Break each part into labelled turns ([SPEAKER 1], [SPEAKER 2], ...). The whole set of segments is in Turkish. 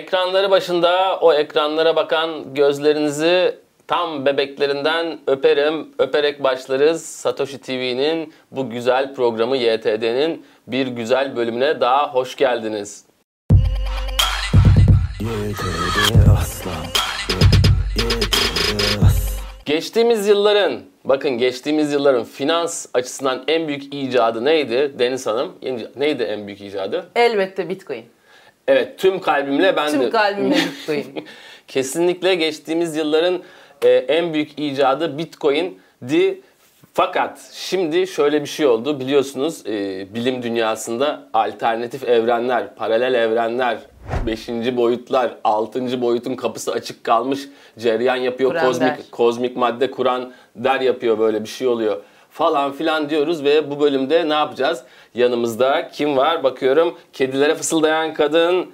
[SPEAKER 1] Ekranları başında o ekranlara bakan gözlerinizi tam bebeklerinden öperim. Öperek başlarız Satoshi TV'nin bu güzel programı YTD'nin bir güzel bölümüne daha hoş geldiniz. Geçtiğimiz yılların, bakın geçtiğimiz yılların finans açısından en büyük icadı neydi Deniz Hanım? Neydi en büyük icadı?
[SPEAKER 2] Elbette Bitcoin.
[SPEAKER 1] Evet tüm kalbimle ben de...
[SPEAKER 2] Tüm kalbimle Bitcoin.
[SPEAKER 1] Kesinlikle geçtiğimiz yılların e, en büyük icadı Bitcoin'di. Fakat şimdi şöyle bir şey oldu biliyorsunuz e, bilim dünyasında alternatif evrenler, paralel evrenler, 5. boyutlar, 6. boyutun kapısı açık kalmış cereyan yapıyor,
[SPEAKER 2] Kuran
[SPEAKER 1] kozmik
[SPEAKER 2] der.
[SPEAKER 1] kozmik madde kuran der yapıyor böyle bir şey oluyor falan filan diyoruz ve bu bölümde ne yapacağız? Yanımızda kim var? Bakıyorum kedilere fısıldayan kadın,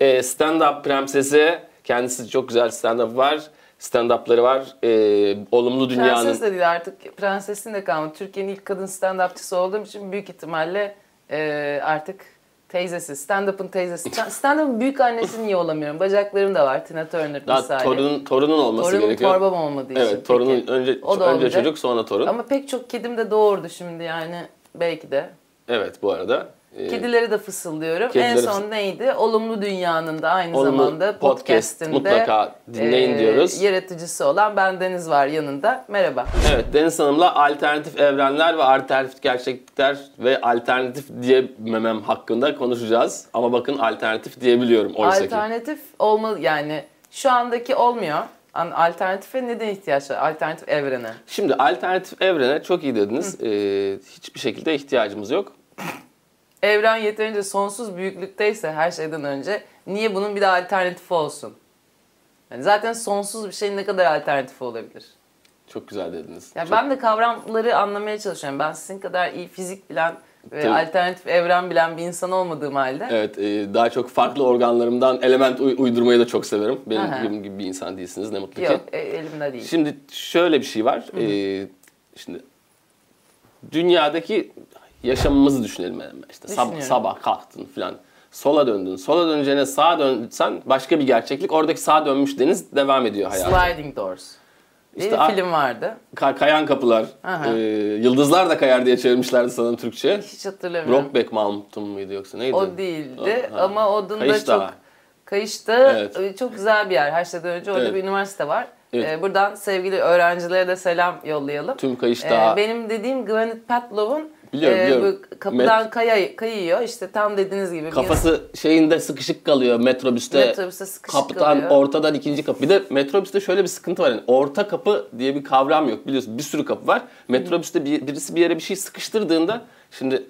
[SPEAKER 1] e, stand-up prensesi. Kendisi çok güzel stand-up var. Stand-up'ları var. E, olumlu dünyanın
[SPEAKER 2] Prenses de değil artık prensesin de kalmadı. Türkiye'nin ilk kadın stand-upçısı olduğum için büyük ihtimalle e, artık teyzesi, stand-up'ın teyzesi. Stand- Stand-up'ın büyük annesini niye olamıyorum? Bacaklarım da var Tina Turner
[SPEAKER 1] daha
[SPEAKER 2] misali.
[SPEAKER 1] torunun, torunun olması
[SPEAKER 2] Torunum
[SPEAKER 1] gerekiyor.
[SPEAKER 2] torbam olmadığı için.
[SPEAKER 1] evet, torunun
[SPEAKER 2] peki.
[SPEAKER 1] önce
[SPEAKER 2] O da
[SPEAKER 1] önce
[SPEAKER 2] olacak.
[SPEAKER 1] çocuk sonra torun.
[SPEAKER 2] Ama pek çok kedim de doğurdu şimdi yani belki de.
[SPEAKER 1] Evet bu arada. E,
[SPEAKER 2] Kedilere de fısıldıyorum.
[SPEAKER 1] kedilere
[SPEAKER 2] en son neydi? Olumlu Dünya'nın da aynı
[SPEAKER 1] Olumlu
[SPEAKER 2] zamanda
[SPEAKER 1] podcast.
[SPEAKER 2] podcast'inde e,
[SPEAKER 1] Mutlaka dinleyin diyoruz.
[SPEAKER 2] Yaratıcısı olan ben Deniz var yanında. Merhaba.
[SPEAKER 1] Evet Deniz Hanım'la alternatif evrenler ve alternatif gerçeklikler ve alternatif diyememem hakkında konuşacağız. Ama bakın alternatif diyebiliyorum oysa ki.
[SPEAKER 2] Alternatif olmalı yani şu andaki olmuyor. An- Alternatife neden ihtiyaç var? Alternatif evrene.
[SPEAKER 1] Şimdi alternatif evrene çok iyi dediniz. Ee, hiçbir şekilde ihtiyacımız yok.
[SPEAKER 2] Evren yeterince sonsuz büyüklükteyse her şeyden önce niye bunun bir de alternatifi olsun? Yani zaten sonsuz bir şeyin ne kadar alternatifi olabilir?
[SPEAKER 1] Çok güzel dediniz.
[SPEAKER 2] Ya
[SPEAKER 1] Çok-
[SPEAKER 2] ben de kavramları anlamaya çalışıyorum. Ben sizin kadar iyi fizik bilen ve
[SPEAKER 1] Tabii.
[SPEAKER 2] alternatif evren bilen bir insan olmadığım halde.
[SPEAKER 1] Evet e, daha çok farklı organlarımdan element uy- uydurmayı da çok severim. Benim,
[SPEAKER 2] Aha.
[SPEAKER 1] benim gibi bir insan değilsiniz ne mutlu ki.
[SPEAKER 2] Yok, e- elimde değil.
[SPEAKER 1] Şimdi şöyle bir şey var. Ee, şimdi dünyadaki yaşamımızı düşünelim hemen. İşte sabah,
[SPEAKER 2] Düşünüyorum.
[SPEAKER 1] sabah kalktın falan. Sola döndün. Sola döneceğine sağa dönsen başka bir gerçeklik. Oradaki sağa dönmüş deniz devam ediyor hayatı.
[SPEAKER 2] Sliding Doors. Diye
[SPEAKER 1] İşte
[SPEAKER 2] bir
[SPEAKER 1] a-
[SPEAKER 2] film vardı.
[SPEAKER 1] Ka- kayan kapılar.
[SPEAKER 2] Aha.
[SPEAKER 1] e, yıldızlar da kayar diye çevirmişlerdi sanırım Türkçe.
[SPEAKER 2] Hiç hatırlamıyorum.
[SPEAKER 1] Brokeback Mountain mıydı yoksa neydi?
[SPEAKER 2] O değildi
[SPEAKER 1] Ha.
[SPEAKER 2] ama odun da
[SPEAKER 1] Kayış Dağı.
[SPEAKER 2] çok kayışta
[SPEAKER 1] Evet.
[SPEAKER 2] e, çok güzel bir yer. Her şeyden önce orada
[SPEAKER 1] Evet.
[SPEAKER 2] bir üniversite var.
[SPEAKER 1] Evet.
[SPEAKER 2] E, buradan sevgili öğrencilere de selam yollayalım.
[SPEAKER 1] Tüm Kayış
[SPEAKER 2] E,
[SPEAKER 1] Dağı.
[SPEAKER 2] benim dediğim Gwyneth Paltrow'un
[SPEAKER 1] Biliyorum, biliyorum.
[SPEAKER 2] bu kapıdan kaya, kayıyor. İşte tam dediğiniz gibi. bir
[SPEAKER 1] Kafası şeyinde sıkışık kalıyor metrobüste.
[SPEAKER 2] Metrobüste sıkışık
[SPEAKER 1] Kapıdan
[SPEAKER 2] kalıyor.
[SPEAKER 1] ortadan ikinci kapı. Bir de metrobüste şöyle bir sıkıntı var. Yani orta kapı diye bir kavram yok. Biliyorsun bir sürü kapı var. Metrobüste bir, birisi bir yere bir şey sıkıştırdığında şimdi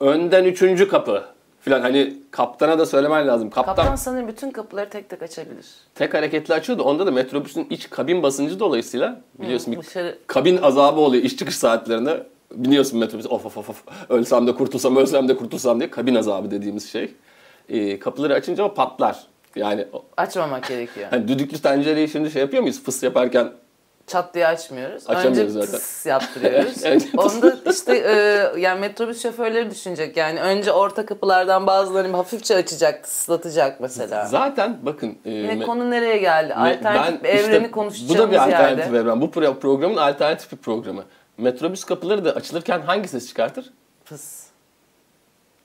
[SPEAKER 1] önden üçüncü kapı falan hani kaptana da söylemen lazım. Kaptan,
[SPEAKER 2] Kaptan sanırım bütün kapıları tek tek açabilir.
[SPEAKER 1] tek hareketli açıyordu. Onda da metrobüsün iç kabin basıncı dolayısıyla biliyorsun bir
[SPEAKER 2] Dışarı
[SPEAKER 1] kabin azabı oluyor iş çıkış saatlerinde. Biniyorsun metrobüse of of of of ölsem de kurtulsam ölsem de kurtulsam diye kabin azabı dediğimiz şey. Ee, kapıları açınca o patlar. Yani o-
[SPEAKER 2] açmamak gerekiyor.
[SPEAKER 1] hani düdüklü tencereyi şimdi şey yapıyor muyuz fıs yaparken
[SPEAKER 2] Çat diye açmıyoruz.
[SPEAKER 1] Açamıyoruz
[SPEAKER 2] önce
[SPEAKER 1] zaten.
[SPEAKER 2] tıs yaptırıyoruz.
[SPEAKER 1] Evet, önce tıs.
[SPEAKER 2] Onda işte e, yani metrobüs şoförleri düşünecek. Yani önce orta kapılardan bazılarını hafifçe açacak, tıslatacak mesela.
[SPEAKER 1] zaten bakın e,
[SPEAKER 2] Yine
[SPEAKER 1] me-
[SPEAKER 2] konu nereye geldi?
[SPEAKER 1] me-
[SPEAKER 2] Alternatif
[SPEAKER 1] ben işte
[SPEAKER 2] evreni
[SPEAKER 1] Bu da
[SPEAKER 2] konuşacağımız
[SPEAKER 1] bir alternatif
[SPEAKER 2] yerde.
[SPEAKER 1] evren. Bu pro- programın alternatif bir programı. Metrobüs kapıları da açılırken hangi ses çıkartır?
[SPEAKER 2] Pıs.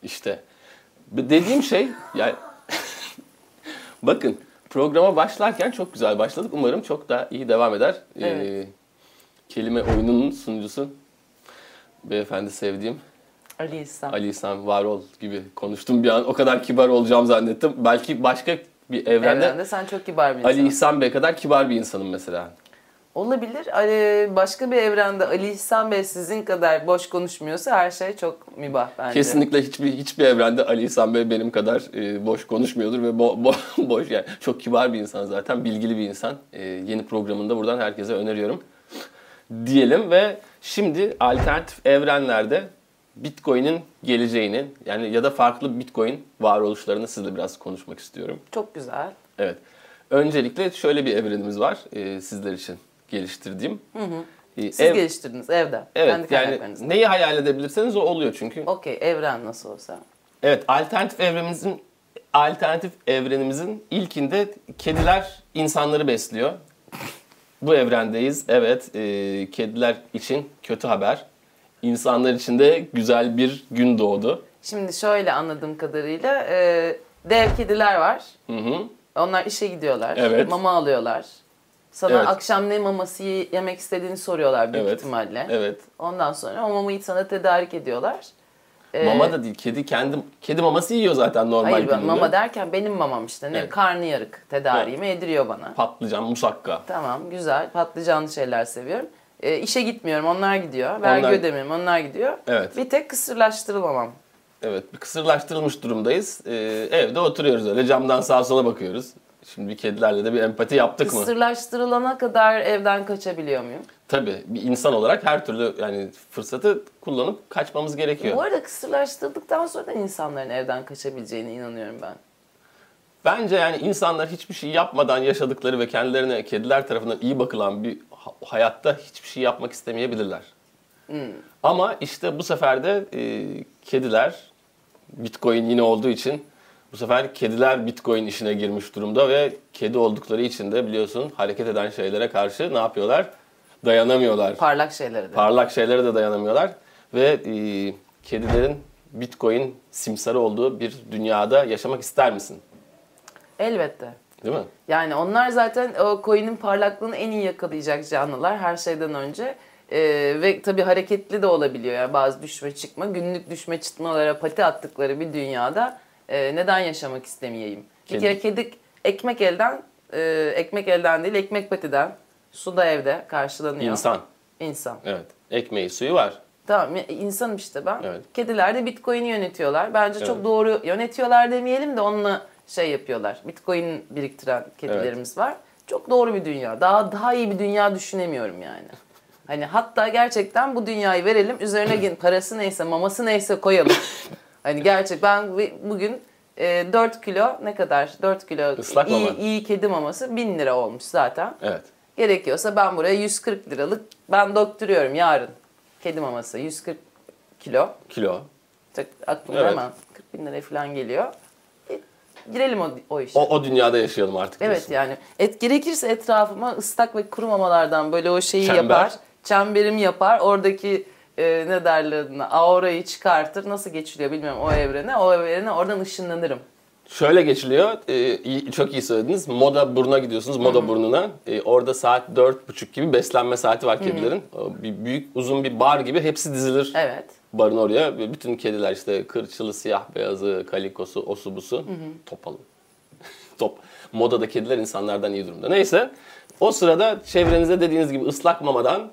[SPEAKER 1] İşte B- dediğim şey yani bakın programa başlarken çok güzel başladık. Umarım çok daha iyi devam eder. Ee,
[SPEAKER 2] Evet.
[SPEAKER 1] kelime oyununun sunucusu beyefendi sevdiğim
[SPEAKER 2] Ali İhsan.
[SPEAKER 1] Ali İhsan Varol gibi konuştum bir an. O kadar kibar olacağım zannettim. Belki başka bir evrende
[SPEAKER 2] Evrende sen çok kibar bir
[SPEAKER 1] Ali
[SPEAKER 2] insansın.
[SPEAKER 1] İhsan Bey kadar kibar bir insanım mesela.
[SPEAKER 2] Olabilir. Ali- Başka bir evrende Ali İhsan Bey sizin kadar boş konuşmuyorsa her şey çok mübah bence.
[SPEAKER 1] Kesinlikle hiçbir hiçbir evrende Ali İhsan Bey benim kadar e, boş konuşmuyordur ve bo- bo- boş yani çok kibar bir insan zaten bilgili bir insan. E, yeni programında buradan herkese öneriyorum diyelim ve şimdi alternatif evrenlerde Bitcoin'in geleceğini yani ya da farklı Bitcoin varoluşlarını sizle biraz konuşmak istiyorum.
[SPEAKER 2] Çok güzel.
[SPEAKER 1] Evet. Öncelikle şöyle bir evrenimiz var e, sizler için geliştirdiğim. E,
[SPEAKER 2] Siz
[SPEAKER 1] ev-
[SPEAKER 2] geliştirdiniz evde.
[SPEAKER 1] Evet
[SPEAKER 2] Kendi
[SPEAKER 1] yani
[SPEAKER 2] kaynaklarınızla.
[SPEAKER 1] neyi hayal edebilirseniz o oluyor çünkü.
[SPEAKER 2] Okey evren nasıl olsa.
[SPEAKER 1] Evet alternatif evrenimizin alternatif evrenimizin ilkinde kediler insanları besliyor. Bu evrendeyiz. Evet, e, kediler için kötü haber. İnsanlar için de güzel bir gün doğdu.
[SPEAKER 2] Şimdi şöyle anladığım kadarıyla e, dev kediler var.
[SPEAKER 1] Hı hı.
[SPEAKER 2] Onlar işe gidiyorlar.
[SPEAKER 1] Evet.
[SPEAKER 2] Mama alıyorlar. Sana
[SPEAKER 1] Evet.
[SPEAKER 2] akşam ne maması ye- yemek istediğini soruyorlar büyük
[SPEAKER 1] Evet.
[SPEAKER 2] ihtimalle.
[SPEAKER 1] Evet.
[SPEAKER 2] Ondan sonra o mamayı sana tedarik ediyorlar. E,
[SPEAKER 1] Mama da değil, kedi kendi kedi maması yiyor zaten normal
[SPEAKER 2] Hayır ben
[SPEAKER 1] gününde.
[SPEAKER 2] mama derken benim mamam işte. Ne
[SPEAKER 1] Evet.
[SPEAKER 2] karnıyarık tedariğimi ediriyor bana.
[SPEAKER 1] Patlıcan, musakka.
[SPEAKER 2] Tamam güzel patlıcanlı şeyler seviyorum. E, işe gitmiyorum onlar gidiyor. Vergi
[SPEAKER 1] Onlar-
[SPEAKER 2] ödemiyorum onlar gidiyor.
[SPEAKER 1] Evet.
[SPEAKER 2] Bir tek kısırlaştırılmamam.
[SPEAKER 1] Evet, kısırlaştırılmış durumdayız. Ee, evde oturuyoruz öyle camdan sağa sola bakıyoruz. Şimdi bir kedilerle de bir empati yaptık mı?
[SPEAKER 2] Kısırlaştırılana kadar evden kaçabiliyor muyum?
[SPEAKER 1] Tabii bir insan olarak her türlü yani fırsatı kullanıp kaçmamız gerekiyor.
[SPEAKER 2] Bu arada kısırlaştırdıktan sonra da insanların evden kaçabileceğine inanıyorum ben.
[SPEAKER 1] Bence yani insanlar hiçbir şey yapmadan yaşadıkları ve kendilerine kediler tarafından iyi bakılan bir ha- hayatta hiçbir şey yapmak istemeyebilirler. Ama işte bu sefer de e, kediler, bitcoin yine olduğu için bu sefer kediler bitcoin işine girmiş durumda ve kedi oldukları için de biliyorsun hareket eden şeylere karşı ne yapıyorlar? Dayanamıyorlar.
[SPEAKER 2] Parlak şeylere de.
[SPEAKER 1] Parlak şeylere de dayanamıyorlar ve e, kedilerin bitcoin simsarı olduğu bir dünyada yaşamak ister misin?
[SPEAKER 2] Elbette.
[SPEAKER 1] Değil mi?
[SPEAKER 2] Yani onlar zaten o coin'in parlaklığını en iyi yakalayacak canlılar her şeyden önce. Ee, ve tabii hareketli de olabiliyor yani bazı düşme çıkma, günlük düşme çıkmalara pati attıkları bir dünyada e, neden yaşamak istemeyeyim?
[SPEAKER 1] Kedi.
[SPEAKER 2] Bir kere kedi ekmek elden, e, ekmek elden değil ekmek patiden, su da evde karşılanıyor.
[SPEAKER 1] İnsan.
[SPEAKER 2] İnsan.
[SPEAKER 1] Evet. Ekmeği, suyu var.
[SPEAKER 2] Tamam ya- insanım işte ben.
[SPEAKER 1] Evet.
[SPEAKER 2] Kediler de Bitcoin'i yönetiyorlar. Bence
[SPEAKER 1] Evet.
[SPEAKER 2] çok doğru yönetiyorlar demeyelim de onunla şey yapıyorlar. Bitcoin biriktiren kedilerimiz var. Çok doğru bir dünya. Daha daha iyi bir dünya düşünemiyorum yani. Hani hatta gerçekten bu dünyayı verelim. Üzerine gidin parası neyse, maması neyse koyalım. hani gerçek ben bu- bugün e, 4 kilo ne kadar? 4 kilo
[SPEAKER 1] Islak
[SPEAKER 2] iyi,
[SPEAKER 1] mama.
[SPEAKER 2] iyi kedi maması 1000 lira olmuş zaten.
[SPEAKER 1] Evet.
[SPEAKER 2] Gerekiyorsa ben buraya 140 liralık ben döktürüyorum yarın. Kedi maması 140 kilo.
[SPEAKER 1] Kilo.
[SPEAKER 2] Tak, aklıma
[SPEAKER 1] Evet.
[SPEAKER 2] hemen 40 bin liraya falan geliyor. E, girelim o, o işe.
[SPEAKER 1] O, o dünyada yaşayalım artık.
[SPEAKER 2] evet
[SPEAKER 1] diyorsun.
[SPEAKER 2] yani et gerekirse etrafıma ıslak ve kuru mamalardan böyle o şeyi
[SPEAKER 1] Çember.
[SPEAKER 2] yapar. Çemberimi yapar. Oradaki e, ne derler adına aurayı çıkartır. Nasıl geçiliyor bilmiyorum o evrene. O evrene oradan ışınlanırım.
[SPEAKER 1] Şöyle geçiliyor. e, iyi- çok iyi söylediniz. Moda buruna gidiyorsunuz. Moda burnuna. E, orada saat dört buçuk gibi beslenme saati var kedilerin. O Bir büyük uzun bir bar gibi hepsi dizilir
[SPEAKER 2] Evet.
[SPEAKER 1] barın oraya. Ve Bütün kediler işte kırçılı, siyah beyazı, kalikosu, osu busu. Topalı. Top. Modada kediler insanlardan iyi durumda. Neyse. O sırada çevrenizde dediğiniz gibi ıslak mamadan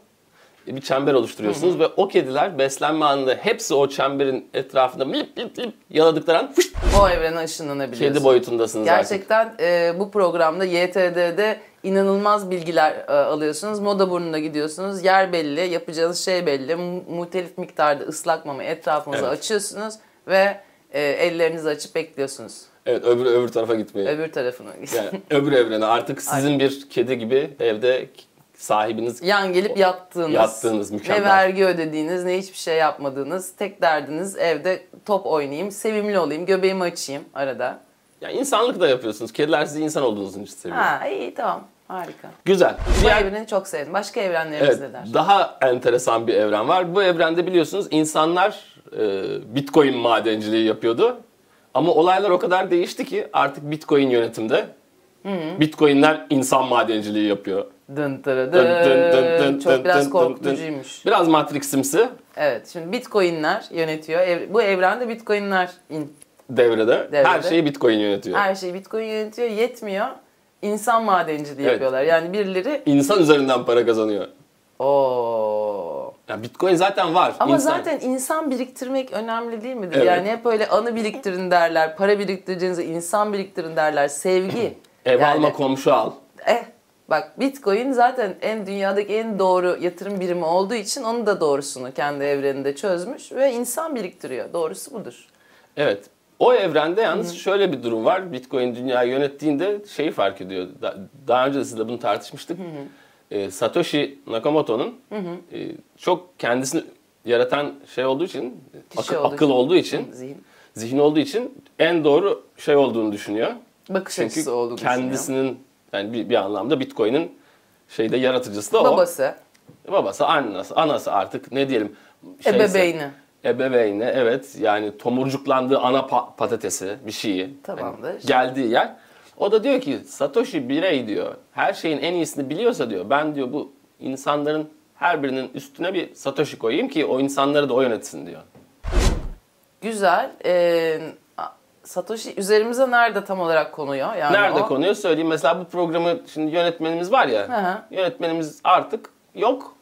[SPEAKER 1] bir çember oluşturuyorsunuz ve o kediler beslenme anında hepsi o çemberin etrafında lip lip lip yaladıkları an fışt,
[SPEAKER 2] O evrene ışınlanabiliyorsun.
[SPEAKER 1] kedi boyutundasınız artık.
[SPEAKER 2] Gerçekten e, bu programda YTD'de inanılmaz bilgiler e, alıyorsunuz. Moda burnuna gidiyorsunuz. Yer belli, yapacağınız şey belli. Mu- Muhtelif miktarda ıslak mama etrafınıza
[SPEAKER 1] Evet.
[SPEAKER 2] açıyorsunuz ve e, ellerinizi açıp bekliyorsunuz.
[SPEAKER 1] Evet öbür öbür tarafa gitmeyi.
[SPEAKER 2] Öbür tarafına.
[SPEAKER 1] Yani öbür evrene artık sizin bir kedi gibi evde sahibiniz
[SPEAKER 2] Yan gelip yattığınız,
[SPEAKER 1] Yattığınız, mükemmel.
[SPEAKER 2] ne vergi ödediğiniz, ne hiçbir şey yapmadığınız, tek derdiniz evde top oynayayım, sevimli olayım, göbeğimi açayım arada.
[SPEAKER 1] yani insanlık da yapıyorsunuz. Kediler sizi insan olduğunuzu seviyor.
[SPEAKER 2] Ha iyi tamam, harika.
[SPEAKER 1] Güzel.
[SPEAKER 2] Bu
[SPEAKER 1] Diğer-
[SPEAKER 2] evreni çok sevdim. Başka evrenlerimiz
[SPEAKER 1] Evet,
[SPEAKER 2] neler?
[SPEAKER 1] daha enteresan bir evren var. Bu evrende biliyorsunuz insanlar e, bitcoin madenciliği yapıyordu. Ama olaylar o kadar değişti ki artık bitcoin yönetimde.
[SPEAKER 2] Hmm.
[SPEAKER 1] Bitcoinler insan madenciliği yapıyor.
[SPEAKER 2] Dın tırı
[SPEAKER 1] Dın dın dın dın
[SPEAKER 2] dın.
[SPEAKER 1] dın
[SPEAKER 2] Çok biraz
[SPEAKER 1] dın
[SPEAKER 2] korkutucuymuş.
[SPEAKER 1] Biraz Matrix'imsi
[SPEAKER 2] Evet şimdi bitcoinler yönetiyor. Ev- Bu evrende bitcoinler in.
[SPEAKER 1] devrede. Her
[SPEAKER 2] Devrede.
[SPEAKER 1] şeyi bitcoin yönetiyor.
[SPEAKER 2] Her şeyi bitcoin yönetiyor. Yetmiyor. İnsan madenciliği
[SPEAKER 1] Evet.
[SPEAKER 2] yapıyorlar. Yani birileri
[SPEAKER 1] İnsan üzerinden para kazanıyor.
[SPEAKER 2] o
[SPEAKER 1] Ya Bitcoin zaten var.
[SPEAKER 2] ama
[SPEAKER 1] insan.
[SPEAKER 2] zaten insan biriktirmek önemli değil midir?
[SPEAKER 1] Evet.
[SPEAKER 2] Yani hep öyle anı biriktirin derler, para biriktireceğinize insan biriktirin derler, sevgi.
[SPEAKER 1] ev
[SPEAKER 2] Yani-
[SPEAKER 1] alma komşu al.
[SPEAKER 2] Eh bak Bitcoin zaten en dünyadaki en doğru yatırım birimi olduğu için onu da doğrusunu kendi evreninde çözmüş ve insan biriktiriyor. Doğrusu budur.
[SPEAKER 1] Evet. O evrende yalnız şöyle bir durum var. Bitcoin dünyayı yönettiğinde şeyi fark ediyor. Da- daha önce de sizinle bunu tartışmıştık. Ee, Satoshi Nakamoto'nun e, çok kendisini yaratan şey olduğu için,
[SPEAKER 2] Kişi
[SPEAKER 1] akı-
[SPEAKER 2] olduğu
[SPEAKER 1] akıl
[SPEAKER 2] için.
[SPEAKER 1] olduğu için,
[SPEAKER 2] Zihin.
[SPEAKER 1] zihin olduğu için en doğru şey olduğunu düşünüyor.
[SPEAKER 2] Bakış
[SPEAKER 1] Çünkü
[SPEAKER 2] açısı olduğunu düşünüyorum.
[SPEAKER 1] kendisinin yani bir, bir anlamda Bitcoin'in şeyde yaratıcısı da
[SPEAKER 2] Babası,
[SPEAKER 1] o. Babası, annesi, anası artık ne diyelim.
[SPEAKER 2] ebeveyni.
[SPEAKER 1] Ebeveyni evet yani tomurcuklandığı ana pa- patatesi bir şeyi.
[SPEAKER 2] Tamamdır.
[SPEAKER 1] Hani geldiği yer. O da diyor ki Satoshi birey diyor. Her şeyin en iyisini biliyorsa diyor. Ben diyor bu insanların her birinin üstüne bir Satoshi koyayım ki o insanları da o yönetsin diyor.
[SPEAKER 2] Güzel. Ee, Satoshi üzerimize nerede tam olarak konuyor? Yani
[SPEAKER 1] Nerede
[SPEAKER 2] Hani o-
[SPEAKER 1] konuyor söyleyeyim. Mesela bu programı şimdi yönetmenimiz var ya.
[SPEAKER 2] Hı hı.
[SPEAKER 1] Yönetmenimiz artık yok.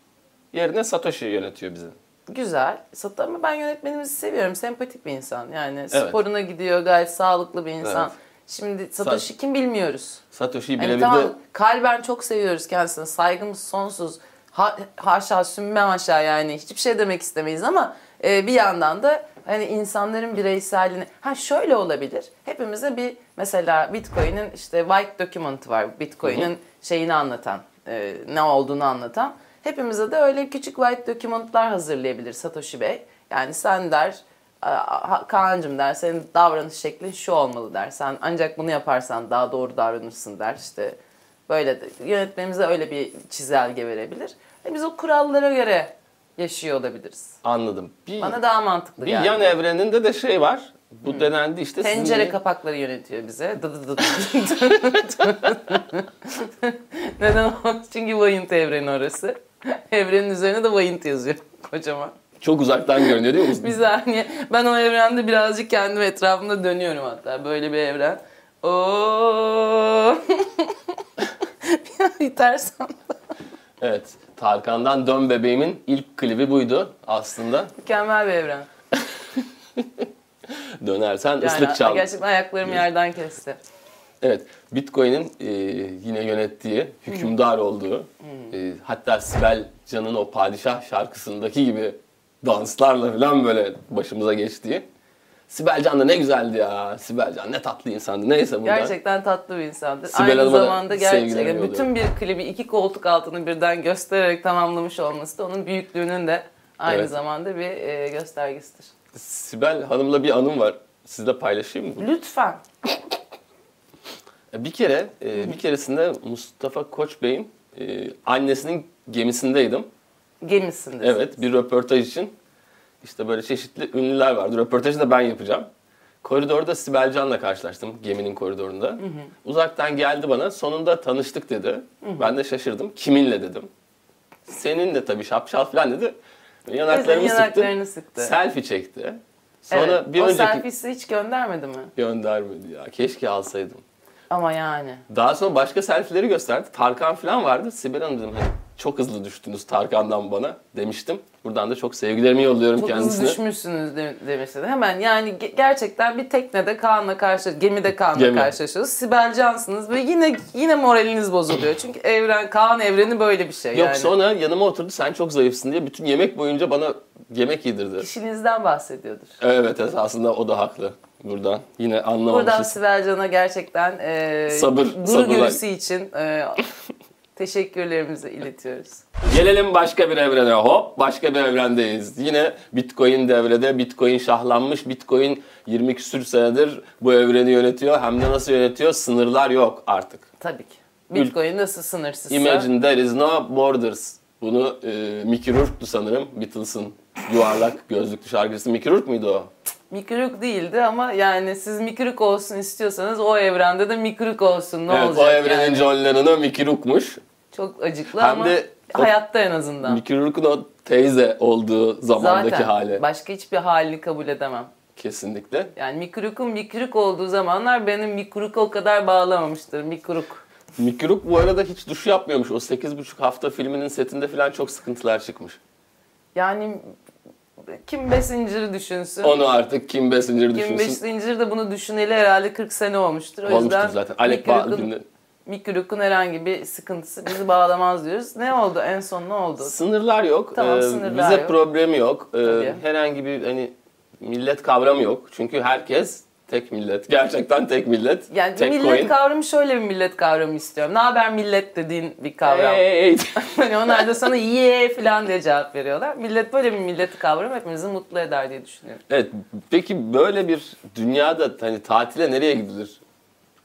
[SPEAKER 1] Yerine Satoshi yönetiyor bizi.
[SPEAKER 2] Güzel. Sat ama ben yönetmenimizi seviyorum. Sempatik bir insan. Yani sporuna gidiyor, gayet sağlıklı bir insan.
[SPEAKER 1] Evet.
[SPEAKER 2] Şimdi Satoshi kim bilmiyoruz.
[SPEAKER 1] Satoshi'yi
[SPEAKER 2] Yani
[SPEAKER 1] birebir
[SPEAKER 2] Hani tamam
[SPEAKER 1] de
[SPEAKER 2] kalben çok seviyoruz kendisini. Saygımız sonsuz. Ha, haşa sümme haşa yani hiçbir şey demek istemeyiz ama e, bir yandan da hani insanların bireyselliğini ha şöyle olabilir. Hepimize bir mesela Bitcoin'in işte white document'ı var. Bitcoin'in şeyini anlatan, e, ne olduğunu anlatan. Hepimize de öyle küçük white document'lar hazırlayabilir Satoshi Bey. Yani sen der Aa, Kaan'cığım der senin davranış şeklin şu olmalı der. Sen ancak bunu yaparsan daha doğru davranırsın der. İşte böyle de, yönetmenimize öyle bir çizelge verebilir. E biz o kurallara göre yaşıyor olabiliriz.
[SPEAKER 1] anladım. Bir,
[SPEAKER 2] Bana daha mantıklı
[SPEAKER 1] bir
[SPEAKER 2] geldi.
[SPEAKER 1] yan evreninde de şey var. Bu denendi işte. sizin
[SPEAKER 2] Tencere
[SPEAKER 1] yeni-
[SPEAKER 2] kapakları yönetiyor bize. Dı dı dı dı. Neden o? Çünkü Vayint evreni orası. Evrenin üzerine de Vayint yazıyor kocaman.
[SPEAKER 1] Çok uzaktan görünüyor değil mi?
[SPEAKER 2] Bir saniye. Ben o evrende birazcık kendim etrafımda dönüyorum hatta. Böyle bir evren. Oo. bir an itersem.
[SPEAKER 1] Evet. Tarkan'dan Dön Bebeğimin ilk klibi buydu aslında.
[SPEAKER 2] Mükemmel bir evren.
[SPEAKER 1] Dönersen
[SPEAKER 2] Yani
[SPEAKER 1] ıslık çal.
[SPEAKER 2] gerçekten ayaklarım yerden kesti.
[SPEAKER 1] Evet. Bitcoin'in e, yine yönettiği, hükümdar olduğu, e, hatta Sibel Can'ın o padişah şarkısındaki gibi danslarla falan böyle başımıza geçtiği. Sibel Can da ne güzeldi ya. Sibel Can ne tatlı insandı. Neyse bunlar.
[SPEAKER 2] Gerçekten tatlı bir insandır.
[SPEAKER 1] Sibel
[SPEAKER 2] Aynı
[SPEAKER 1] Hanım'a da
[SPEAKER 2] zamanda
[SPEAKER 1] sevgilerimi
[SPEAKER 2] gerçekten bütün bir klibi iki koltuk altını birden göstererek tamamlamış olması da onun büyüklüğünün de aynı
[SPEAKER 1] Evet.
[SPEAKER 2] zamanda bir e, göstergesidir.
[SPEAKER 1] Sibel Hanım'la bir anım var. Sizle paylaşayım mı?
[SPEAKER 2] Lütfen.
[SPEAKER 1] Bir kere, e, bir keresinde Mustafa Koç Bey'in e, annesinin gemisindeydim.
[SPEAKER 2] Gemisindesin.
[SPEAKER 1] Evet bir röportaj için işte böyle çeşitli ünlüler vardı. Röportajı da ben yapacağım. Koridorda Sibel Can'la karşılaştım geminin koridorunda. Uzaktan geldi bana sonunda tanıştık dedi. Ben de şaşırdım. Kiminle dedim. Seninle tabii şapşal falan dedi. Yanaklarımı
[SPEAKER 2] Kızın
[SPEAKER 1] sıktı.
[SPEAKER 2] yanaklarını sıktı.
[SPEAKER 1] Selfie çekti.
[SPEAKER 2] Evet,
[SPEAKER 1] Sonra bir
[SPEAKER 2] o
[SPEAKER 1] önceki
[SPEAKER 2] selfiesi hiç göndermedi mi?
[SPEAKER 1] göndermedi ya. Keşke alsaydım.
[SPEAKER 2] Ama yani.
[SPEAKER 1] Daha sonra başka selfie'leri gösterdi. Tarkan falan vardı. Sibel Hanım dedim hani çok hızlı düştünüz Tarkan'dan bana demiştim. Buradan da çok sevgilerimi yolluyorum
[SPEAKER 2] Çok
[SPEAKER 1] kendisine.
[SPEAKER 2] hızlı düşmüşsünüz de, demişti. Hemen yani ge- gerçekten bir teknede Kaan'la karşı, gemide Kaan'la
[SPEAKER 1] Gemi.
[SPEAKER 2] karşılaşıyorsunuz. Sibel Cansınız ve yine yine moraliniz bozuluyor. Çünkü evren, Kaan evreni böyle bir şey
[SPEAKER 1] Yok
[SPEAKER 2] yani.
[SPEAKER 1] sonra yanıma oturdu sen çok zayıfsın diye bütün yemek boyunca bana yemek yedirdi.
[SPEAKER 2] İşinizden bahsediyordur.
[SPEAKER 1] Evet esasında o da haklı buradan. Yine
[SPEAKER 2] Buradan
[SPEAKER 1] anlamamışız.
[SPEAKER 2] Sibel Can'a gerçekten e,
[SPEAKER 1] Sabır,
[SPEAKER 2] dur
[SPEAKER 1] sabırlar.
[SPEAKER 2] görüsü için e, teşekkürlerimizi iletiyoruz.
[SPEAKER 1] Gelelim başka bir evrene hop başka bir evrendeyiz. Yine Bitcoin devrede Bitcoin şahlanmış. Bitcoin 20 küsür senedir bu evreni yönetiyor. Hem de nasıl yönetiyor sınırlar yok artık.
[SPEAKER 2] Tabii ki. Bitcoin nasıl sınırsızsa.
[SPEAKER 1] Imagine there is no borders. Bunu e, Mickey Rourke'tu sanırım. Beatles'ın yuvarlak gözlüklü şarkıcısı Mickey Rourke muydu o?
[SPEAKER 2] Mikrük değildi ama yani siz mikrük olsun istiyorsanız o evrende de mikrük olsun ne
[SPEAKER 1] evet,
[SPEAKER 2] olacak
[SPEAKER 1] o evrenin
[SPEAKER 2] yani.
[SPEAKER 1] John Lennon'ı Mickey Rourke'muş.
[SPEAKER 2] Çok acıklı
[SPEAKER 1] Hem
[SPEAKER 2] ama
[SPEAKER 1] de o-
[SPEAKER 2] hayatta en azından.
[SPEAKER 1] Mickey Rourke'un o teyze olduğu zamandaki
[SPEAKER 2] Zaten
[SPEAKER 1] hali.
[SPEAKER 2] başka hiçbir halini kabul edemem.
[SPEAKER 1] Kesinlikle.
[SPEAKER 2] Yani mikrükün mikrük olduğu zamanlar benim mikrük o kadar bağlamamıştır mikrük.
[SPEAKER 1] Mickey Rourke bu arada hiç duş yapmıyormuş. O 8,5 hafta filminin setinde falan çok sıkıntılar çıkmış.
[SPEAKER 2] Yani kim be zinciri düşünsün.
[SPEAKER 1] Onu artık Kim Basinger
[SPEAKER 2] kim be
[SPEAKER 1] düşünsün.
[SPEAKER 2] zinciri de bunu düşüneli herhalde 40 sene olmuştur. O
[SPEAKER 1] Olmuştur
[SPEAKER 2] yüzden
[SPEAKER 1] zaten. Alec
[SPEAKER 2] mikrükün-
[SPEAKER 1] Baldwin'de.
[SPEAKER 2] mikrükün herhangi bir sıkıntısı bizi bağlamaz diyoruz. Ne oldu en son ne oldu?
[SPEAKER 1] Sınırlar yok.
[SPEAKER 2] Tamam,
[SPEAKER 1] Ee,
[SPEAKER 2] sınırlar
[SPEAKER 1] vize
[SPEAKER 2] yok.
[SPEAKER 1] problemi yok. Ee,
[SPEAKER 2] Tabii.
[SPEAKER 1] herhangi bir hani millet kavramı yok. Çünkü herkes Tek millet. Gerçekten tek millet.
[SPEAKER 2] Yani
[SPEAKER 1] tek
[SPEAKER 2] millet kavramı şöyle bir millet kavramı istiyorum. Ne haber millet dediğin bir kavram.
[SPEAKER 1] Hey, hey.
[SPEAKER 2] Hani onlar da sana ye falan diye cevap veriyorlar. Millet böyle bir millet kavramı hepimizi mutlu eder diye düşünüyorum.
[SPEAKER 1] evet. Peki böyle bir dünyada hani tatile nereye gidilir?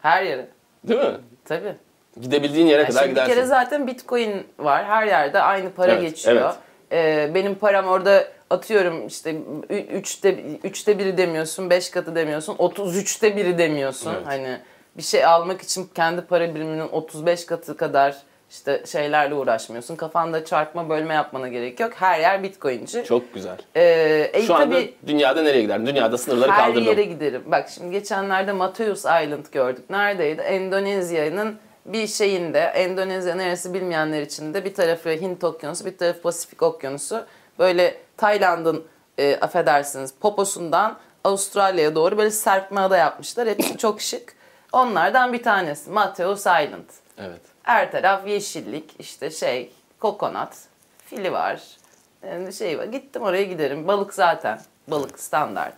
[SPEAKER 2] Her yere.
[SPEAKER 1] Değil mi?
[SPEAKER 2] Tabii.
[SPEAKER 1] Gidebildiğin yere
[SPEAKER 2] Ya
[SPEAKER 1] kadar
[SPEAKER 2] şimdi bir
[SPEAKER 1] gidersin.
[SPEAKER 2] kere zaten bitcoin var. Her yerde aynı para
[SPEAKER 1] Evet,
[SPEAKER 2] geçiyor.
[SPEAKER 1] evet.
[SPEAKER 2] Ee, benim param orada atıyorum işte ü- üçte, üçte biri demiyorsun, beş katı demiyorsun, 33'te biri demiyorsun.
[SPEAKER 1] Evet.
[SPEAKER 2] Hani bir şey almak için kendi para biriminin 35 katı kadar işte şeylerle uğraşmıyorsun. Kafanda çarpma bölme yapmana gerek yok. Her yer bitcoinci.
[SPEAKER 1] Çok güzel.
[SPEAKER 2] Ee, e,
[SPEAKER 1] Şu anda
[SPEAKER 2] tabii-
[SPEAKER 1] dünyada nereye giderdin? Dünyada sınırları
[SPEAKER 2] her
[SPEAKER 1] kaldırdım.
[SPEAKER 2] yere giderim. Bak şimdi geçenlerde Matthäus Island gördük. Neredeydi? Endonezya'nın bir şeyinde, Endonezya neresi bilmeyenler için de bir tarafı Hint Okyanusu, bir tarafı Pasifik Okyanusu. Böyle Tayland'ın, e, affedersiniz, poposundan Avustralya'ya doğru böyle serpme ada yapmışlar. Hepsi çok şık. Onlardan bir tanesi Matthäus Island.
[SPEAKER 1] Evet.
[SPEAKER 2] Her taraf yeşillik, işte şey, kokonat, fili var, yani şey var. Gittim oraya giderim. Balık zaten, balık standart.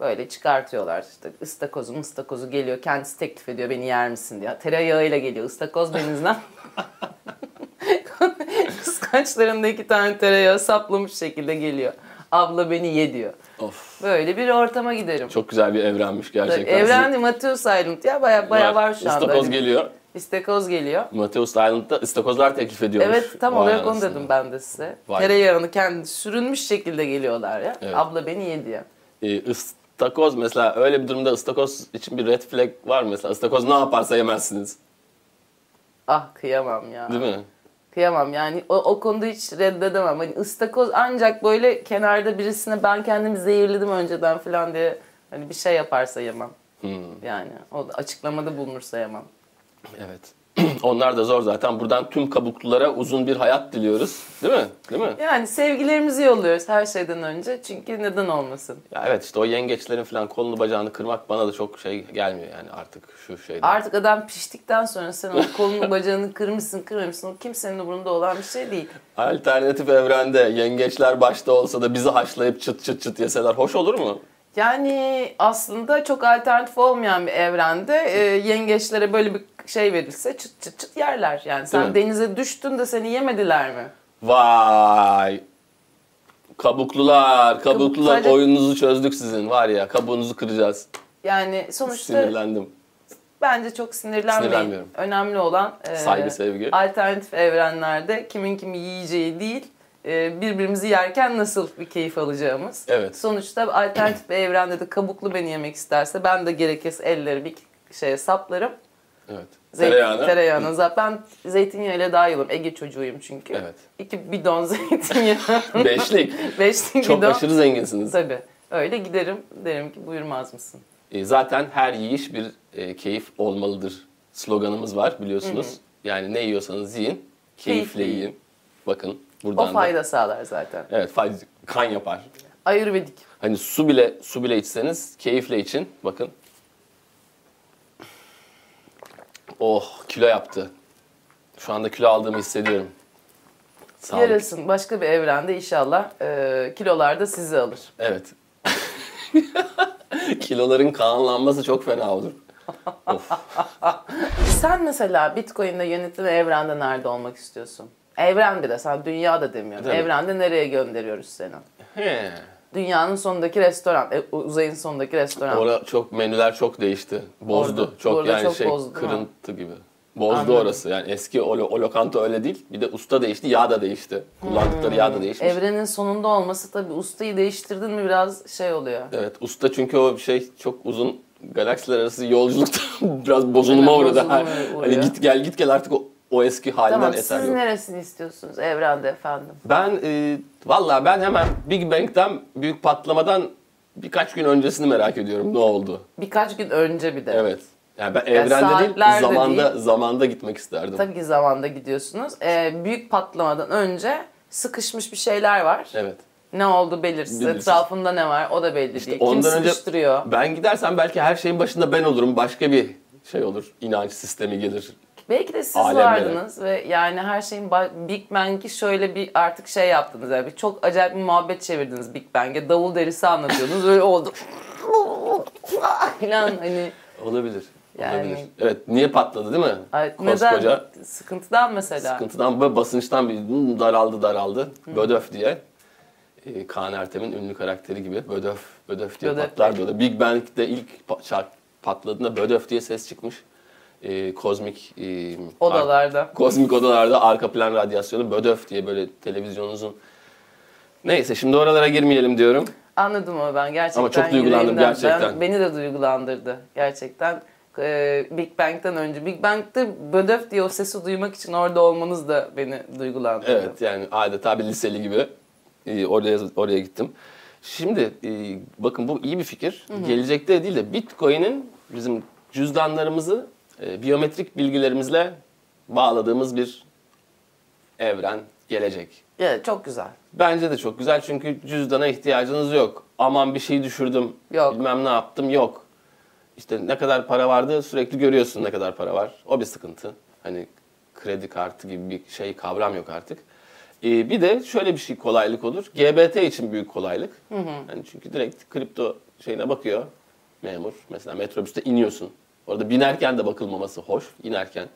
[SPEAKER 2] Böyle çıkartıyorlar işte ıstakozu, ıstakozu geliyor, kendisi teklif ediyor beni yer misin diye. Tereyağıyla geliyor, ıstakoz denizden. Kıskançlarında iki tane tereyağı saplamış şekilde geliyor. Abla beni ye diyor.
[SPEAKER 1] Of.
[SPEAKER 2] Böyle bir ortama giderim.
[SPEAKER 1] Çok güzel bir evrenmiş gerçekten.
[SPEAKER 2] Evren Matthews Island ya baya baya var, şu anda.
[SPEAKER 1] İstakoz
[SPEAKER 2] Hani
[SPEAKER 1] geliyor.
[SPEAKER 2] İstakoz geliyor.
[SPEAKER 1] Mateus Island'da istakozlar teklif ediyormuş.
[SPEAKER 2] Evet tam
[SPEAKER 1] Vay
[SPEAKER 2] olarak onu
[SPEAKER 1] anasını.
[SPEAKER 2] dedim ben de size.
[SPEAKER 1] Vay.
[SPEAKER 2] Tereyağını kendi sürünmüş şekilde geliyorlar ya.
[SPEAKER 1] Evet.
[SPEAKER 2] Abla beni ye diye.
[SPEAKER 1] Ee, ıstakoz mesela öyle bir durumda ıstakoz için bir red flag var mı? Mesela ıstakoz ne yaparsa yemezsiniz.
[SPEAKER 2] Ah kıyamam ya.
[SPEAKER 1] Değil mi?
[SPEAKER 2] Kıyamam yani o, o konuda hiç reddedemem. Hani ıstakoz ancak böyle kenarda birisine ben kendimi zehirledim önceden falan diye hani bir şey yaparsa yemem.
[SPEAKER 1] Hmm.
[SPEAKER 2] Yani o da açıklamada bulunursa yemem.
[SPEAKER 1] Evet. Onlar da zor zaten. Buradan tüm kabuklulara uzun bir hayat diliyoruz. Değil mi? Değil mi?
[SPEAKER 2] Yani sevgilerimizi yolluyoruz her şeyden önce. Çünkü neden olmasın?
[SPEAKER 1] Ya evet işte o yengeçlerin falan kolunu bacağını kırmak bana da çok şey gelmiyor yani artık şu şeyde.
[SPEAKER 2] Artık adam piştikten sonra sen onun kolunu bacağını kırmışsın kırmamışsın. O kimsenin umurunda olan bir şey değil.
[SPEAKER 1] Alternatif evrende yengeçler başta olsa da bizi haşlayıp çıt çıt çıt yeseler hoş olur mu?
[SPEAKER 2] Yani aslında çok alternatif olmayan bir evrende e, yengeçlere böyle bir şey verilse çıt çıt çıt yerler. Yani sen
[SPEAKER 1] mi?
[SPEAKER 2] denize düştün de seni yemediler mi?
[SPEAKER 1] Vay. Kabuklular, kabuklular
[SPEAKER 2] Sadece-
[SPEAKER 1] oyununuzu çözdük sizin var ya kabuğunuzu kıracağız.
[SPEAKER 2] Yani sonuçta
[SPEAKER 1] Sinirlendim.
[SPEAKER 2] bence çok sinirlenmeyin.
[SPEAKER 1] Sinirlenmiyorum.
[SPEAKER 2] Önemli olan e,
[SPEAKER 1] Saygı, sevgi.
[SPEAKER 2] alternatif evrenlerde kimin kimi yiyeceği değil e, birbirimizi yerken nasıl bir keyif alacağımız.
[SPEAKER 1] Evet.
[SPEAKER 2] Sonuçta alternatif bir evrende de kabuklu beni yemek isterse ben de gerekirse elleri bir şeye saplarım.
[SPEAKER 1] Evet.
[SPEAKER 2] Zeytin,
[SPEAKER 1] Tereyağını.
[SPEAKER 2] tereyağını. zaten ben zeytinyağıyla daha iyi olurum. Ege çocuğuyum çünkü.
[SPEAKER 1] Evet.
[SPEAKER 2] İki bidon zeytinyağı,
[SPEAKER 1] Beşlik.
[SPEAKER 2] beşli
[SPEAKER 1] Çok
[SPEAKER 2] bidon.
[SPEAKER 1] aşırı zenginsiniz.
[SPEAKER 2] Tabii. Öyle giderim derim ki buyurmaz mısın?
[SPEAKER 1] E, zaten her yiyiş bir e, keyif olmalıdır sloganımız var biliyorsunuz. Yani ne yiyorsanız yiyin, keyifle
[SPEAKER 2] Keyifle yiyin.
[SPEAKER 1] yiyin. Bakın
[SPEAKER 2] O
[SPEAKER 1] buradan da-
[SPEAKER 2] fayda sağlar zaten.
[SPEAKER 1] Evet, fayda kan yapar.
[SPEAKER 2] Ayurvedik.
[SPEAKER 1] Hani su bile su bile içseniz keyifle için. Bakın. Oh, kilo yaptı. Şu anda kilo aldığımı hissediyorum. Sağlık.
[SPEAKER 2] Yarasın başka bir evrende inşallah e, kilolar da sizi alır.
[SPEAKER 1] Evet. Kiloların kanlanması çok fena olur. Of.
[SPEAKER 2] Sen mesela Bitcoin'de yönetilen evrende nerede olmak istiyorsun? Evrende de sen dünya da demiyorum.
[SPEAKER 1] Tabii.
[SPEAKER 2] Evrende nereye gönderiyoruz seni?
[SPEAKER 1] He.
[SPEAKER 2] Dünyanın sonundaki restoran, e, uzayın sonundaki restoran.
[SPEAKER 1] Orada çok menüler çok değişti. Bozdu.
[SPEAKER 2] Orada-
[SPEAKER 1] çok
[SPEAKER 2] orada
[SPEAKER 1] yani
[SPEAKER 2] çok
[SPEAKER 1] şey
[SPEAKER 2] bozdu, değil mi?
[SPEAKER 1] kırıntı gibi. Bozdu
[SPEAKER 2] Anladım.
[SPEAKER 1] orası. Yani eski o, lo- o lokanta öyle değil. Bir de usta değişti, yağ da değişti. Kullandıkları yağ
[SPEAKER 2] Hmm.
[SPEAKER 1] da değişmiş.
[SPEAKER 2] Evrenin sonunda olması tabii ustayı değiştirdin mi biraz şey oluyor.
[SPEAKER 1] Evet usta çünkü o şey çok uzun galaksiler arası yolculukta biraz bozulma
[SPEAKER 2] Aynen,
[SPEAKER 1] uğradı.
[SPEAKER 2] bozulma
[SPEAKER 1] Hani
[SPEAKER 2] uğruyor.
[SPEAKER 1] git gel git gel artık o, o eski halinden
[SPEAKER 2] Tamam
[SPEAKER 1] eser
[SPEAKER 2] siz
[SPEAKER 1] yok.
[SPEAKER 2] neresini istiyorsunuz evrende efendim?
[SPEAKER 1] Ben e, valla ben hemen Big Bang'den büyük patlamadan birkaç gün öncesini merak ediyorum ne oldu.
[SPEAKER 2] Birkaç gün önce bir de.
[SPEAKER 1] Evet. Yani ben evrende değil
[SPEAKER 2] saatlerde
[SPEAKER 1] zamanda zamanda gitmek isterdim.
[SPEAKER 2] Tabii ki zamanda gidiyorsunuz. Ee, büyük patlamadan önce sıkışmış bir şeyler var.
[SPEAKER 1] Evet.
[SPEAKER 2] Ne oldu belirsiz.
[SPEAKER 1] Belirsiz.
[SPEAKER 2] Etrafında ne var o da belli
[SPEAKER 1] İşte
[SPEAKER 2] değil.
[SPEAKER 1] ondan
[SPEAKER 2] E, Kim
[SPEAKER 1] önce-
[SPEAKER 2] sıkıştırıyor?
[SPEAKER 1] Ben gidersem belki her şeyin başında ben olurum. Başka bir şey olur. İnanç sistemi gelir.
[SPEAKER 2] Belki de siz
[SPEAKER 1] Alemlere.
[SPEAKER 2] vardınız ve yani her şeyin ba- Big Bang'i şöyle bir artık şey yaptınız. Yani bir çok acayip bir muhabbet çevirdiniz Big Bang'e. Davul derisi anlatıyordunuz. Öyle oldu. falan hani
[SPEAKER 1] Olabilir.
[SPEAKER 2] Yani-
[SPEAKER 1] Olabilir. Evet niye patladı değil mi?
[SPEAKER 2] ay, neden
[SPEAKER 1] Koskoca
[SPEAKER 2] sıkıntıdan mesela.
[SPEAKER 1] sıkıntıdan ve basınçtan bir hmm, daraldı daraldı. Bödöf diye. Ee, Kaan Ertem'in ünlü karakteri gibi Bödöf, Bödöf diye
[SPEAKER 2] Bödöf.
[SPEAKER 1] patlar böyle. Big Bang'de ilk pa- şarkı patladığında Bödöf diye ses çıkmış. Ee, kozmik e, ar-
[SPEAKER 2] Odalarda.
[SPEAKER 1] kozmik odalarda arka plan radyasyonu Bödöf diye böyle televizyonunuzun Neyse şimdi oralara girmeyelim diyorum.
[SPEAKER 2] Anladım ama ben gerçekten.
[SPEAKER 1] Ama çok duygulandım
[SPEAKER 2] yüreğimden.
[SPEAKER 1] gerçekten.
[SPEAKER 2] Ben- beni de duygulandırdı gerçekten. Ee, Big Bang'den önce. Big Bang'de Bödöf diye o sesi duymak için orada olmanız da beni duygulandırdı.
[SPEAKER 1] Evet yani adeta bir liseli gibi e, oraya oraya gittim. Şimdi e, bakın bu iyi bir fikir. Gelecekte değil de Bitcoin'in bizim cüzdanlarımızı e, biyometrik bilgilerimizle bağladığımız bir evren gelecek.
[SPEAKER 2] Evet, çok güzel.
[SPEAKER 1] Bence de çok güzel çünkü cüzdana ihtiyacınız yok. Aman bir şey düşürdüm,
[SPEAKER 2] Yok.
[SPEAKER 1] bilmem ne yaptım yok. İşte ne kadar para vardı sürekli görüyorsun ne kadar para var. O bir sıkıntı. Hani kredi kartı gibi bir şey kavram yok artık. Ee, bir de şöyle bir şey kolaylık olur. GBT için büyük kolaylık. Hani çünkü direkt kripto şeyine bakıyor memur. Mesela metrobüste iniyorsun. Orada binerken de bakılmaması hoş. İnerken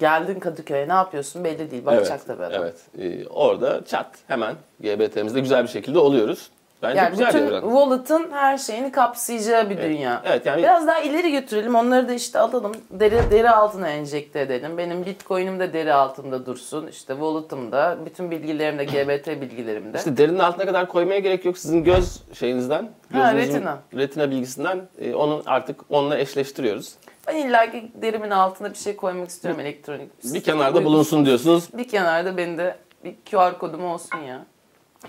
[SPEAKER 2] Geldin Kadıköy'e ne yapıyorsun belli değil. Bakacak tabii adam.
[SPEAKER 1] Evet. Ee, orada çat hemen GBT'mizde güzel bir şekilde oluyoruz. Bence
[SPEAKER 2] Yani
[SPEAKER 1] güzel
[SPEAKER 2] bütün
[SPEAKER 1] bir evren.
[SPEAKER 2] wallet'ın her şeyini kapsayacağı bir dünya.
[SPEAKER 1] Evet yani
[SPEAKER 2] Biraz daha ileri götürelim. Onları da işte alalım. Deri, deri altına enjekte edelim. Benim bitcoin'im de deri altında dursun. İşte wallet'ım da. Bütün bilgilerim de GBT bilgilerim de.
[SPEAKER 1] işte derinin altına kadar koymaya gerek yok. Sizin göz şeyinizden,
[SPEAKER 2] Ha,
[SPEAKER 1] gözünüzün
[SPEAKER 2] retina.
[SPEAKER 1] retina bilgisinden e, onu artık onunla eşleştiriyoruz.
[SPEAKER 2] ben illa ki derimin altına bir şey koymak istiyorum elektronik.
[SPEAKER 1] Bir kenarda
[SPEAKER 2] Uygun.
[SPEAKER 1] bulunsun diyorsunuz.
[SPEAKER 2] Bir kenarda benim de bir QR kodum olsun ya.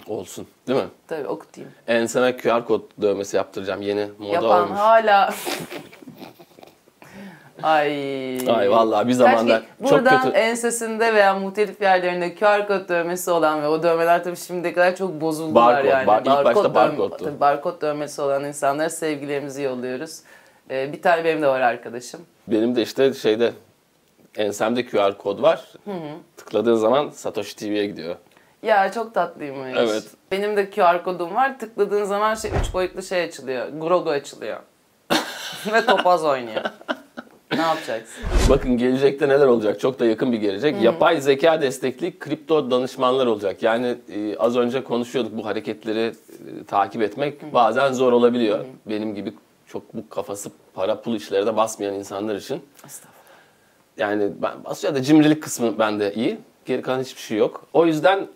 [SPEAKER 1] Olsun değil mi?
[SPEAKER 2] Tabii okutayım.
[SPEAKER 1] Enseme QR kod dövmesi yaptıracağım. Yeni moda
[SPEAKER 2] Yapan
[SPEAKER 1] olmuş.
[SPEAKER 2] hala... Ay.
[SPEAKER 1] Ay vallahi bir
[SPEAKER 2] Kaç
[SPEAKER 1] zamanlar
[SPEAKER 2] ki-
[SPEAKER 1] çok
[SPEAKER 2] şey buradan
[SPEAKER 1] kötü.
[SPEAKER 2] ensesinde veya muhtelif yerlerinde QR kod dövmesi olan ve o dövmeler tabii şimdiye kadar çok bozuldular
[SPEAKER 1] Barkod,
[SPEAKER 2] yani.
[SPEAKER 1] bar- ilk başta
[SPEAKER 2] dövme-
[SPEAKER 1] barkodtu.
[SPEAKER 2] tabii barkod dövmesi olan insanlara sevgilerimizi yolluyoruz. Ee, bir tane benim de var arkadaşım.
[SPEAKER 1] Benim de işte şeyde ensemde QR kod var. Tıkladığın zaman Satoshi TV'ye gidiyor.
[SPEAKER 2] Ya çok tatlıymış.
[SPEAKER 1] Evet.
[SPEAKER 2] Benim de QR kodum var. Tıkladığın zaman şey üç boyutlu şey açılıyor. Grogo açılıyor. ve topaz oynuyor. ne yapacaksın?
[SPEAKER 1] Bakın gelecekte neler olacak? Çok da yakın bir gelecek. Yapay zeka destekli kripto danışmanlar olacak. Yani e, az önce konuşuyorduk bu hareketleri e, takip etmek bazen zor olabiliyor. Benim gibi çok bu kafası para pul işlere de basmayan insanlar için.
[SPEAKER 2] Estağfurullah.
[SPEAKER 1] Yani ben basıyor da cimrilik kısmı bende iyi. Geri kalan hiçbir şey yok. O yüzden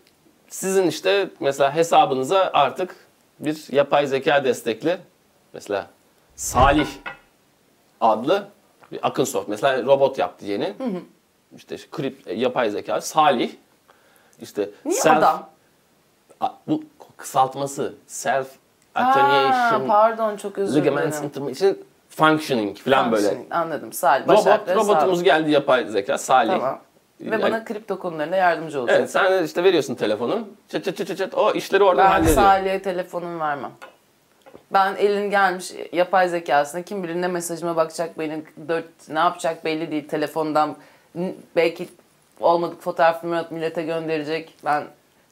[SPEAKER 1] sizin işte mesela hesabınıza artık bir yapay zeka destekli mesela Salih adlı bir akın soft. Mesela robot yaptı yeni. İşte şu krip, e, yapay zeka Salih işte
[SPEAKER 2] Niye
[SPEAKER 1] self-
[SPEAKER 2] adam?
[SPEAKER 1] A- bu kısaltması self
[SPEAKER 2] Ha,
[SPEAKER 1] attenuation
[SPEAKER 2] pardon çok özür
[SPEAKER 1] ligaments
[SPEAKER 2] dilerim.
[SPEAKER 1] intermission functioning falan böyle.
[SPEAKER 2] Functioning, Anladım. Salih.
[SPEAKER 1] Robot,
[SPEAKER 2] başakları sağ-
[SPEAKER 1] robotumuz geldi yapay zeka Salih.
[SPEAKER 2] Tamam. Ve
[SPEAKER 1] Yani-
[SPEAKER 2] bana kripto konularında yardımcı olacak.
[SPEAKER 1] Evet sen işte veriyorsun telefonu. Çat çat çat çat çat o işleri oradan
[SPEAKER 2] ben
[SPEAKER 1] hallediyor.
[SPEAKER 2] Salih'e telefonumu vermem. Ben elin gelmiş yapay zekasına kim bilir ne mesajıma bakacak benim dört ne yapacak belli değil. Telefondan n- belki olmadık fotoğrafımı atıp millete gönderecek. Ben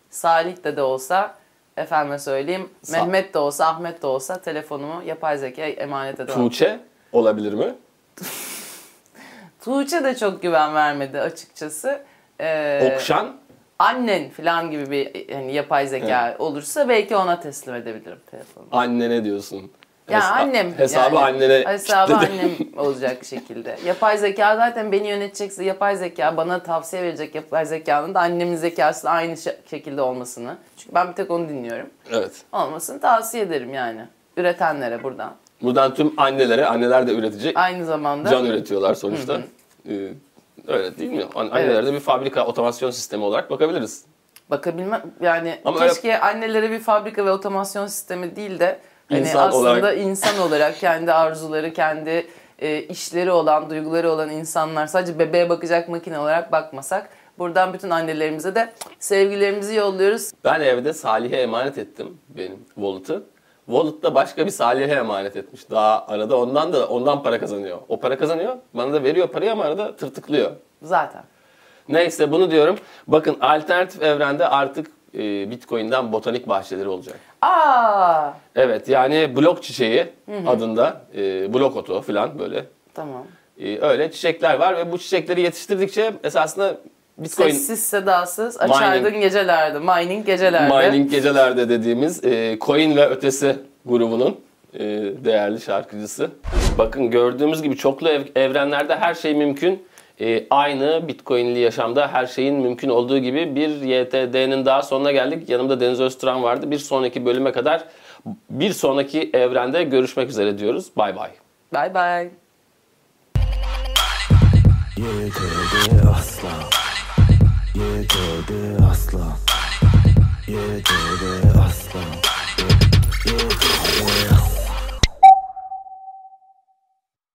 [SPEAKER 2] Salih de de olsa efendime söyleyeyim
[SPEAKER 1] Sa-
[SPEAKER 2] Mehmet de olsa Ahmet de olsa telefonumu yapay zekaya emanet edemem.
[SPEAKER 1] Tuğçe olabilir mi?
[SPEAKER 2] Tuğçe de çok güven vermedi açıkçası. Ee,
[SPEAKER 1] Okşan
[SPEAKER 2] annen falan gibi bir yani yapay zeka olursa belki ona teslim edebilirim telefonu.
[SPEAKER 1] annene diyorsun.
[SPEAKER 2] Ya
[SPEAKER 1] Hesa-
[SPEAKER 2] annem.
[SPEAKER 1] Hesabı
[SPEAKER 2] yani.
[SPEAKER 1] annene
[SPEAKER 2] Hesabı
[SPEAKER 1] kilitledi.
[SPEAKER 2] annem olacak şekilde. Yapay zeka zaten beni yönetecekse yapay zeka bana tavsiye verecek yapay zekanın da annemin zekası aynı şe- şekilde olmasını. Çünkü ben bir tek onu dinliyorum.
[SPEAKER 1] Evet.
[SPEAKER 2] Olmasını tavsiye ederim yani. Üretenlere buradan.
[SPEAKER 1] Buradan tüm annelere, anneler de üretecek.
[SPEAKER 2] Aynı zamanda
[SPEAKER 1] Can üretiyorlar sonuçta. Ee, öyle değil mi? An- Annelerde bir fabrika otomasyon sistemi olarak bakabiliriz.
[SPEAKER 2] bakabilme yani
[SPEAKER 1] Ama
[SPEAKER 2] keşke annelere bir fabrika ve otomasyon sistemi değil de hani
[SPEAKER 1] İnsan
[SPEAKER 2] aslında
[SPEAKER 1] olarak-
[SPEAKER 2] insan olarak kendi arzuları, kendi e, işleri olan, duyguları olan insanlar sadece bebeğe bakacak makine olarak bakmasak buradan bütün annelerimize de sevgilerimizi yolluyoruz.
[SPEAKER 1] Ben evde Salih'e emanet ettim benim wallet'ı. Wallet da başka bir Salih'e emanet etmiş. Daha arada ondan da ondan para kazanıyor. O para kazanıyor. Bana da veriyor parayı ama arada tırtıklıyor.
[SPEAKER 2] Zaten.
[SPEAKER 1] Neyse bunu diyorum. Bakın alternatif evrende artık e, Bitcoin'den botanik bahçeleri olacak.
[SPEAKER 2] Aa,
[SPEAKER 1] Evet yani blok çiçeği adında e, blok otu falan böyle
[SPEAKER 2] tamam.
[SPEAKER 1] e, öyle çiçekler var ve bu çiçekleri yetiştirdikçe esasında Bitcoin
[SPEAKER 2] Sessiz sedasız açardın
[SPEAKER 1] Mining.
[SPEAKER 2] gecelerde. Mining gecelerde.
[SPEAKER 1] mining gecelerde dediğimiz e, Coin ve Ötesi grubunun e, değerli şarkıcısı. Bakın gördüğümüz gibi çoklu ev- evrenlerde her şey mümkün. E, aynı Bitcoin'li yaşamda her şeyin mümkün olduğu gibi bir YTD'nin daha sonuna geldik. Yanımda Deniz Öztürk vardı. Bir sonraki bölüme kadar bir sonraki evrende görüşmek üzere diyoruz. Bay bay.
[SPEAKER 2] Bye bye.
[SPEAKER 3] Yedi aslan Yedi aslan Yedi